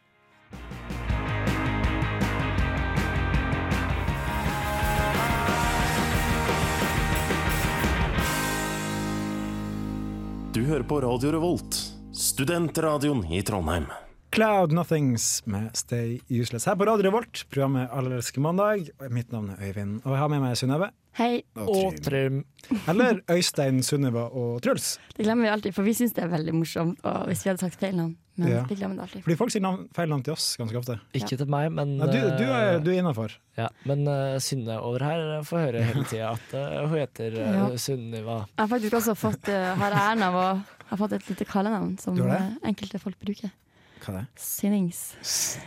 Speaker 11: Du hører på Radio Revolt, studentradioen i Trondheim.
Speaker 2: Cloud Nothings med Stay Useless her på Radio Revolt, programmet Allerske mandag. Og Mitt navn er Øyvind, og jeg har med meg Synnøve.
Speaker 4: Hei.
Speaker 2: Og
Speaker 5: Trym.
Speaker 2: Eller Øystein, Sunniva og Truls.
Speaker 4: Det glemmer vi alltid, for vi syns det er veldig morsomt og hvis vi hadde sagt feil navn. Men
Speaker 2: Ja.
Speaker 4: vi glemmer det alltid.
Speaker 2: Fordi folk sier navn, feil navn til oss ganske ofte.
Speaker 5: Ikke til meg, men
Speaker 2: Nei, du, du er,
Speaker 5: eh,
Speaker 2: du er innafor.
Speaker 5: Ja, men eh, Synne over her eh, får høre hele tida at eh, hun heter eh,
Speaker 4: Ja.
Speaker 5: Sunniva.
Speaker 4: Jeg har faktisk også fått, eh, har æren av å ha fått et lite kallenavn som
Speaker 5: Du har det?
Speaker 4: eh, enkelte folk bruker.
Speaker 2: Hva er det?
Speaker 4: Synnings.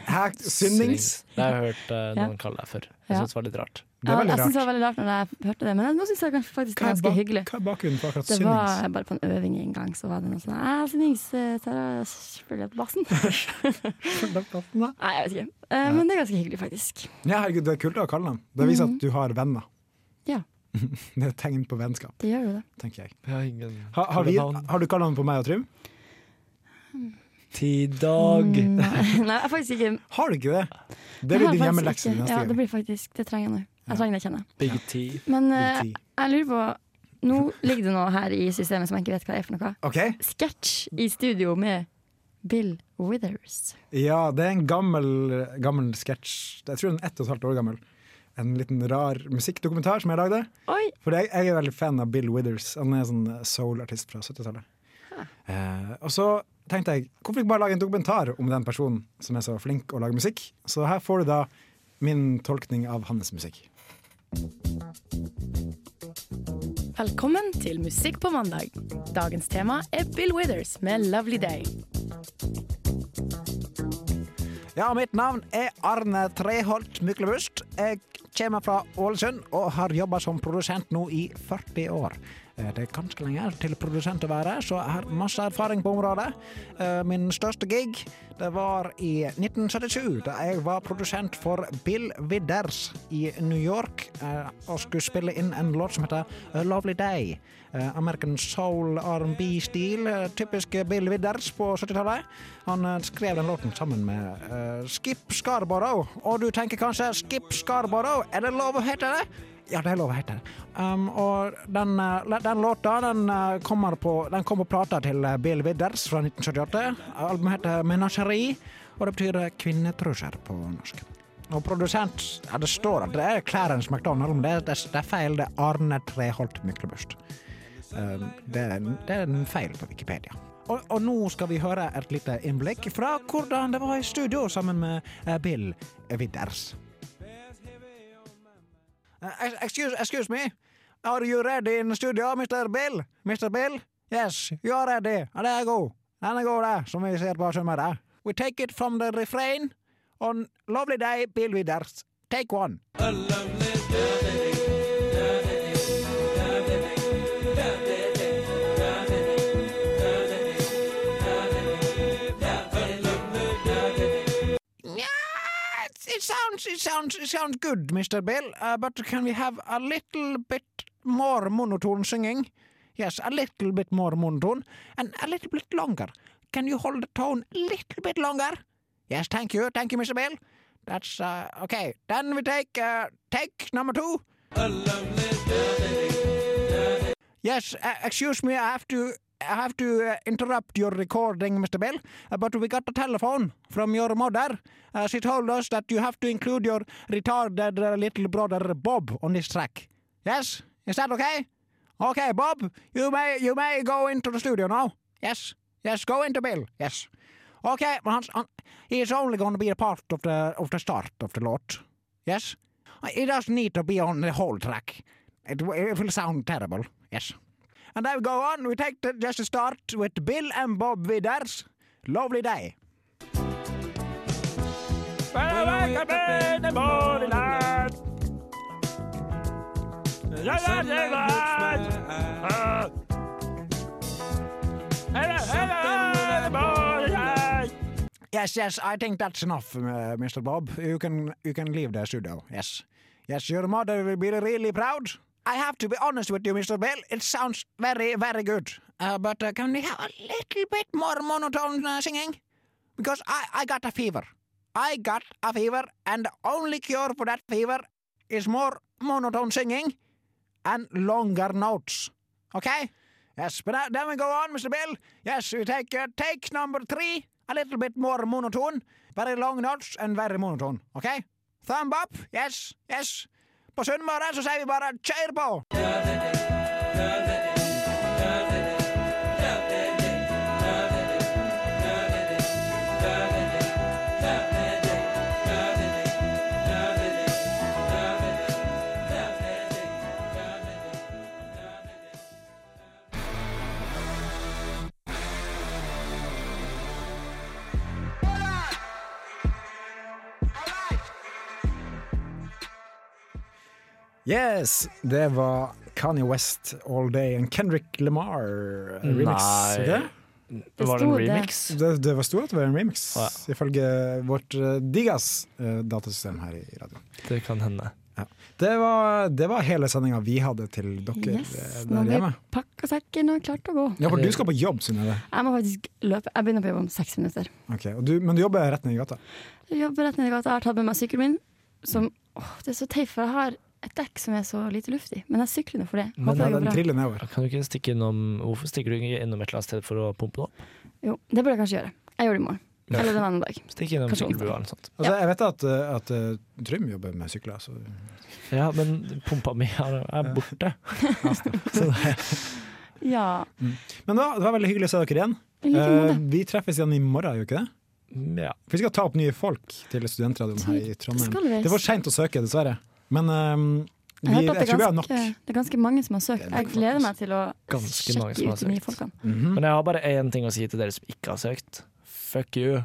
Speaker 2: Hæ, Synnings?
Speaker 5: Det har jeg hørt eh, noen
Speaker 4: Ja.
Speaker 5: kalle deg før. Jeg
Speaker 4: Ja.
Speaker 5: synes det var litt rart.
Speaker 4: Ja, jeg synes det var veldig rart når jeg hørte det, men nå syns jeg kanskje faktisk det
Speaker 2: Hva
Speaker 4: er
Speaker 2: er
Speaker 4: ganske
Speaker 2: bak-
Speaker 4: hyggelig.
Speaker 2: Hva er bakgrunnen for akkurat
Speaker 4: Det var
Speaker 2: Synnings?
Speaker 4: bare på en øving en gang, så var det noe sånn «Ah, Synnings, eh, Sara spiller på bassen. Nei, jeg vet ikke. Eh, Men det er ganske hyggelig, faktisk.
Speaker 2: Ja, herregud, det er kult å ha kallenavn. Det viser at du har venner.
Speaker 4: Mhm. Ja.
Speaker 2: Det er et tegn på vennskap,
Speaker 4: Det gjør jo det.
Speaker 2: tenker jeg.
Speaker 5: Jeg har ingen
Speaker 2: Ha, har, vi,
Speaker 5: kallenavn.
Speaker 2: har du kallenavn på meg og Trym?
Speaker 5: Tidag.
Speaker 4: Mm. Nei, jeg faktisk ikke
Speaker 2: Har du ikke det? Det
Speaker 4: Jeg
Speaker 2: blir
Speaker 4: har
Speaker 2: din
Speaker 4: faktisk
Speaker 2: hjemmelekse
Speaker 4: ikke-
Speaker 2: neste
Speaker 4: Ja, det
Speaker 2: gang.
Speaker 4: blir faktisk Det trenger jeg nå. Jeg trenger det, kjenner jeg.
Speaker 5: Big T.
Speaker 4: Men eh,
Speaker 2: Big T.
Speaker 4: jeg lurer på Nå ligger det noe her i systemet som jeg ikke vet hva er for noe.
Speaker 2: Ok?
Speaker 4: Sketsj i studio med Bill Withers.
Speaker 2: Ja, det er en gammel, gammel sketsj. Jeg tror den er ett og et halvt år gammel. En liten rar musikkdokumentar som jeg lagde.
Speaker 4: Oi.
Speaker 2: For jeg, jeg er veldig fan av Bill Withers. Han er en sånn soul-artist fra 70-tallet. Eh, og så tenkte jeg, hvorfor ikke bare lage en dokumentar om den personen som er så flink å lage musikk? Så her får du da min tolkning av hans musikk.
Speaker 13: Velkommen til Musikk på mandag. Dagens tema er Bill Withers med 'Lovely Day'.
Speaker 2: Ja, mitt navn er Arne Treholt Myklebust. Jeg kommer fra Ålesund og har jobba som produsent nå i 40 år. Eh, Det er ganske lenge til produsent å være, så jeg har masse erfaring på området. Eh, Min største gig det var i 1977, da jeg var produsent for Bill Widders i New York eh, og skulle spille inn en låt som heter A Lovely Day. Eh, American soul R&B-stil, eh, typisk Bill Widders på 70-tallet. Han eh, skrev den låten sammen med eh, Skip Scarborough. Og du tenker kanskje Skip Scarborough, er det lov å hete det? Ja, det er lov å hete det. Um, og den, eh, la- den låta den, eh, kommer på, den kom på plata til eh, Bill Widders fra 1978. Albumet heter Menageri, og det betyr eh, kvinnetrusjer på norsk. Og produsent ja, Det står at det er Clarence McDonald, men det, det, det er feil. Det er Arne Treholt Myklebust. Um, det, er en- det er en feil på Wikipedia. Og, og nå skal vi høre et lite innblikk fra hvordan det var i studio sammen med eh, Bill Widders. Uh, excuse, excuse me. Are you ready in the studio, Mr. Bill? Mr. Bill? Yes, you are ready. Ja, det er god. Den er god, det, som vi ser på summeret. We take it from the refrain on Lovely Day, Bill Widders. Take one. Yeah, it's- it sounds it sounds it sounds good, Mr. Bill. Uh, but can we have a little bit more monotone singing?
Speaker 14: Yes, a little bit more monotone and a little bit longer. Can you hold the tone a little bit longer? Yes, thank you, thank you, Mr. Bill. That's uh, okay. Then we take uh, take number two. Yes, uh, excuse me, I have to I have to uh, interrupt your recording, Mr. Bell, uh, but we got a telephone from your mother. Uh, she told us that you have to include your retarded uh, little brother Bob on this track. Yes, is that okay? Okay, Bob, you may you may go into the studio now. Yes, yes, go into Bill. Yes. Okay, but hans, han, he is only going to be a part of the of the start of the lot. Yes, Uh, he doesn't need to be on the whole track. It, w- it will sound terrible. Yes. And then we go on. We take the, just a start with Bill and Bob Vidars. Lovely day. Yes, yes, I think that's enough, uh, Mr. Bob. You can you can leave the studio. Yes. Yes, your mother will be really proud. I have to be honest with you, Mr. Bell. It sounds very, very good. Uh, but uh, can we have a little bit more monotone uh, singing? Because I, I got a fever. I got a fever, and the only cure for that fever is more monotone singing and longer notes. Okay? Yes, but uh, then we go on, Mr. Bill. Yes, we take uh, take number three, a little bit more monotone, very long notes and very monotone. Okay? Thumb up. Yes, yes. På Sunnmøre så sier vi bare kjør på!
Speaker 2: Yes, det var Kanye West All Day og Kendrick Lamar-remix.
Speaker 5: Nei.
Speaker 2: Det?
Speaker 5: Det var en sto det. remix.
Speaker 2: Det, det var sto at det var en remix, ifølge vårt eh, digas eh, datasystem her i radioen.
Speaker 5: Det kan hende.
Speaker 2: Ja. Det, var, det var hele sendinga vi hadde til dere
Speaker 4: Yes,
Speaker 2: eh, der
Speaker 4: nå har
Speaker 2: hjemme.
Speaker 4: vi pakka sekken og klart å gå.
Speaker 2: Ja, for du skal på jobb, Synnøve.
Speaker 4: Jeg må faktisk løpe. Jeg begynner på jobb om seks minutter.
Speaker 2: Ok, og du- Men du jobber rett ned i gata.
Speaker 4: Jeg jobber rett ned i gata. Jeg har tatt med meg sykkelen min. Som, åh, det er så teit, for jeg har et dekk som er så lite luft i. Men jeg sykler nå for det. Håper det går bra.
Speaker 5: Kan du ikke stikke innom Hvorfor stikker du ikke innom et eller annet sted for å pumpe det opp?
Speaker 4: Jo, det burde jeg kanskje gjøre. Jeg gjør det i morgen.
Speaker 5: Ja.
Speaker 4: Eller en annen dag.
Speaker 5: Stikk innom
Speaker 4: Kanskje
Speaker 5: sykkelbrua
Speaker 4: onsdag.
Speaker 5: eller noe sånt.
Speaker 2: Altså, Jeg vet at, eh, at eh, Trym jobber med sykler. altså. Så.
Speaker 5: Ja, men pumpa mi er er borte.
Speaker 4: Ja.
Speaker 2: Men da, det var veldig hyggelig å se dere igjen.
Speaker 4: I like måte.
Speaker 2: Eh, vi treffes igjen i morgen, gjør vi ikke det?
Speaker 5: Mm,
Speaker 2: For vi skal ta opp nye folk til studentradioen her i
Speaker 4: Skal
Speaker 2: Trondheim.
Speaker 4: vi?
Speaker 2: Det var seint å søke, dessverre. Men eh,
Speaker 4: Jeg,
Speaker 2: vi,
Speaker 4: har
Speaker 2: jeg,
Speaker 4: hørt at det,
Speaker 2: tror vi
Speaker 4: er
Speaker 2: har nok.
Speaker 4: ganske, det er ganske mange som har søkt. Jeg gleder meg til å
Speaker 5: Ganske mange som
Speaker 4: sjekke
Speaker 5: har
Speaker 4: ut de nye
Speaker 5: søkt.
Speaker 4: folkene.
Speaker 2: Mhm.
Speaker 5: Men jeg har bare én ting å si til dere som ikke har søkt. Fuck you.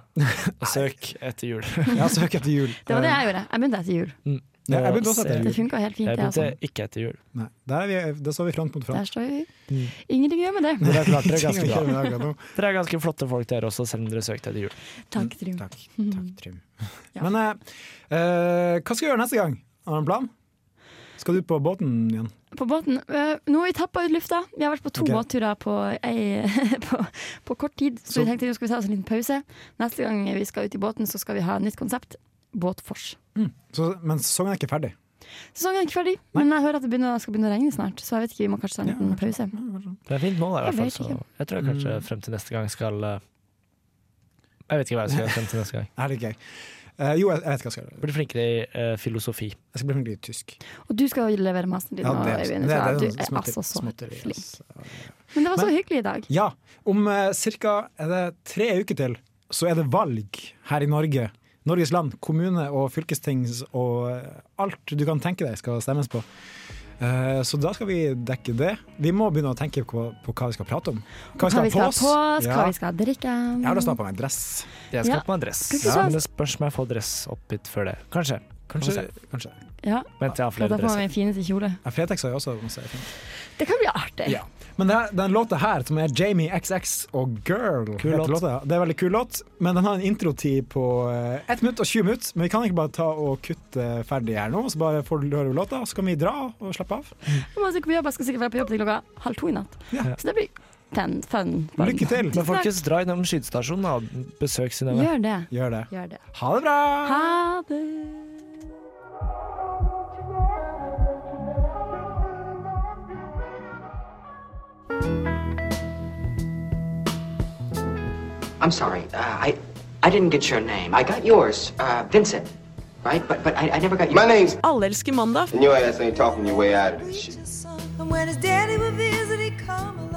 Speaker 5: Og søk etter jul.
Speaker 2: Ja, søk etter jul.
Speaker 4: Det var det jeg gjorde. Jeg begynte etter jul.
Speaker 2: Ja, jeg begynte også etter
Speaker 4: Det
Speaker 2: jul.
Speaker 4: funka helt fint,
Speaker 5: Jeg
Speaker 4: det.
Speaker 5: begynte
Speaker 4: Altså.
Speaker 5: ikke etter jul.
Speaker 2: Nei, der, er vi, der står vi front mot
Speaker 4: Der
Speaker 2: front.
Speaker 4: står vi. Ingenting å gjøre med det.
Speaker 5: Dere klarte dere ganske
Speaker 2: Ingenting å gjøre med det akkurat
Speaker 5: bra.
Speaker 2: nå.
Speaker 5: Dere er ganske flotte folk dere også, selv om dere søkte etter jul.
Speaker 4: Takk, Trym. Mhm.
Speaker 2: Men eh, eh, hva skal vi gjøre neste gang? Har du en plan? Skal du på båten igjen?
Speaker 4: På båten eh, Nå har vi tappa ut lufta. Vi har vært på to
Speaker 2: Ok.
Speaker 4: båtturer på, ei, på, på kort tid, så,
Speaker 2: Så-
Speaker 4: vi tenkte nå skal vi ta oss en liten pause. Neste gang vi skal ut i båten, så skal vi ha et nytt konsept. Båtfors.
Speaker 2: Så, men sesongen er ikke ferdig.
Speaker 4: Sesongen er ikke ferdig, men jeg hører at det begynner, skal begynne å regne snart, så jeg vet ikke, vi må kanskje ta en liten pause.
Speaker 5: Det er fint nå, da,
Speaker 4: Jeg
Speaker 5: i hvert fall.
Speaker 4: vet
Speaker 5: Så
Speaker 4: ikke.
Speaker 5: jeg tror jeg kanskje frem til neste gang skal eh, Jeg vet ikke hva jeg skal gjøre frem til neste gang.
Speaker 2: Er det gøy? Eh, jo, jeg, jeg vet hva jeg skal gjøre.
Speaker 5: Blir flinkere i eh, filosofi.
Speaker 2: Jeg skal bli flinkere i tysk.
Speaker 4: Og du skal jo levere masteren din
Speaker 2: Ja,
Speaker 4: nå,
Speaker 2: det er-
Speaker 4: Øyvind.
Speaker 2: det er- det er
Speaker 4: så du er
Speaker 2: småtteri-
Speaker 4: altså så
Speaker 2: småtteri,
Speaker 4: flink. Men det var så hyggelig i dag.
Speaker 2: Ja, om eh, cirka er det tre uker til, så er det valg her i Norge. Norges land, kommune og fylkestings og eh, alt du kan tenke deg skal stemmes på. Eh, så da skal vi dekke det. Vi må begynne å tenke på, på hva vi skal prate om.
Speaker 4: Hva vi skal ha på oss,
Speaker 2: Ja.
Speaker 4: hva vi skal Mm. drikke.
Speaker 2: Jeg har lyst til å ha på meg dress.
Speaker 5: Jeg skal
Speaker 4: Ja.
Speaker 5: ha på meg dress.
Speaker 4: Skal ikke
Speaker 5: Ja,
Speaker 4: så-
Speaker 5: men det spørs om jeg får dress opp hit før det. Kanskje.
Speaker 2: Kanskje.
Speaker 5: Vi får se.
Speaker 2: kanskje.
Speaker 4: Ja,
Speaker 5: Vent til jeg har
Speaker 4: da
Speaker 5: flere
Speaker 4: får vi
Speaker 5: dresser.
Speaker 4: en fineste kjole.
Speaker 2: Ja, Fretex har jeg også masse fint.
Speaker 4: Det kan bli artig.
Speaker 2: Ja. Men det her, den låta her, som er Jamie XX og Girl,
Speaker 14: Kul
Speaker 2: heter
Speaker 14: låt.
Speaker 2: låta. det er en veldig kul låt. Men den har en introtid på eh, 1 minutt og 20 minutt. Men vi kan ikke bare ta og kutte ferdig her nå, så bare får du høre låta, så kan vi dra og slappe av.
Speaker 4: Jeg må sikkert på jobb, jeg skal sikkert være på jobb til klokka halv to i natt. Så det blir ten, fun.
Speaker 5: Lykke
Speaker 2: til.
Speaker 5: Men folkens, dra innom skytestasjonen og besøk Synnøve.
Speaker 4: Gjør det.
Speaker 2: Gjør det.
Speaker 4: Gjør det.
Speaker 2: Ha det bra!
Speaker 4: Ha det.
Speaker 15: I'm sorry. Uh, I I didn't get your name. I got yours, uh, Vincent. Right? But but I, I never got your
Speaker 16: My name's-
Speaker 15: Alle elsker mandag.
Speaker 16: And your ass ain't talking your way out of this shit.
Speaker 17: And when his daddy would visit, he'd come along.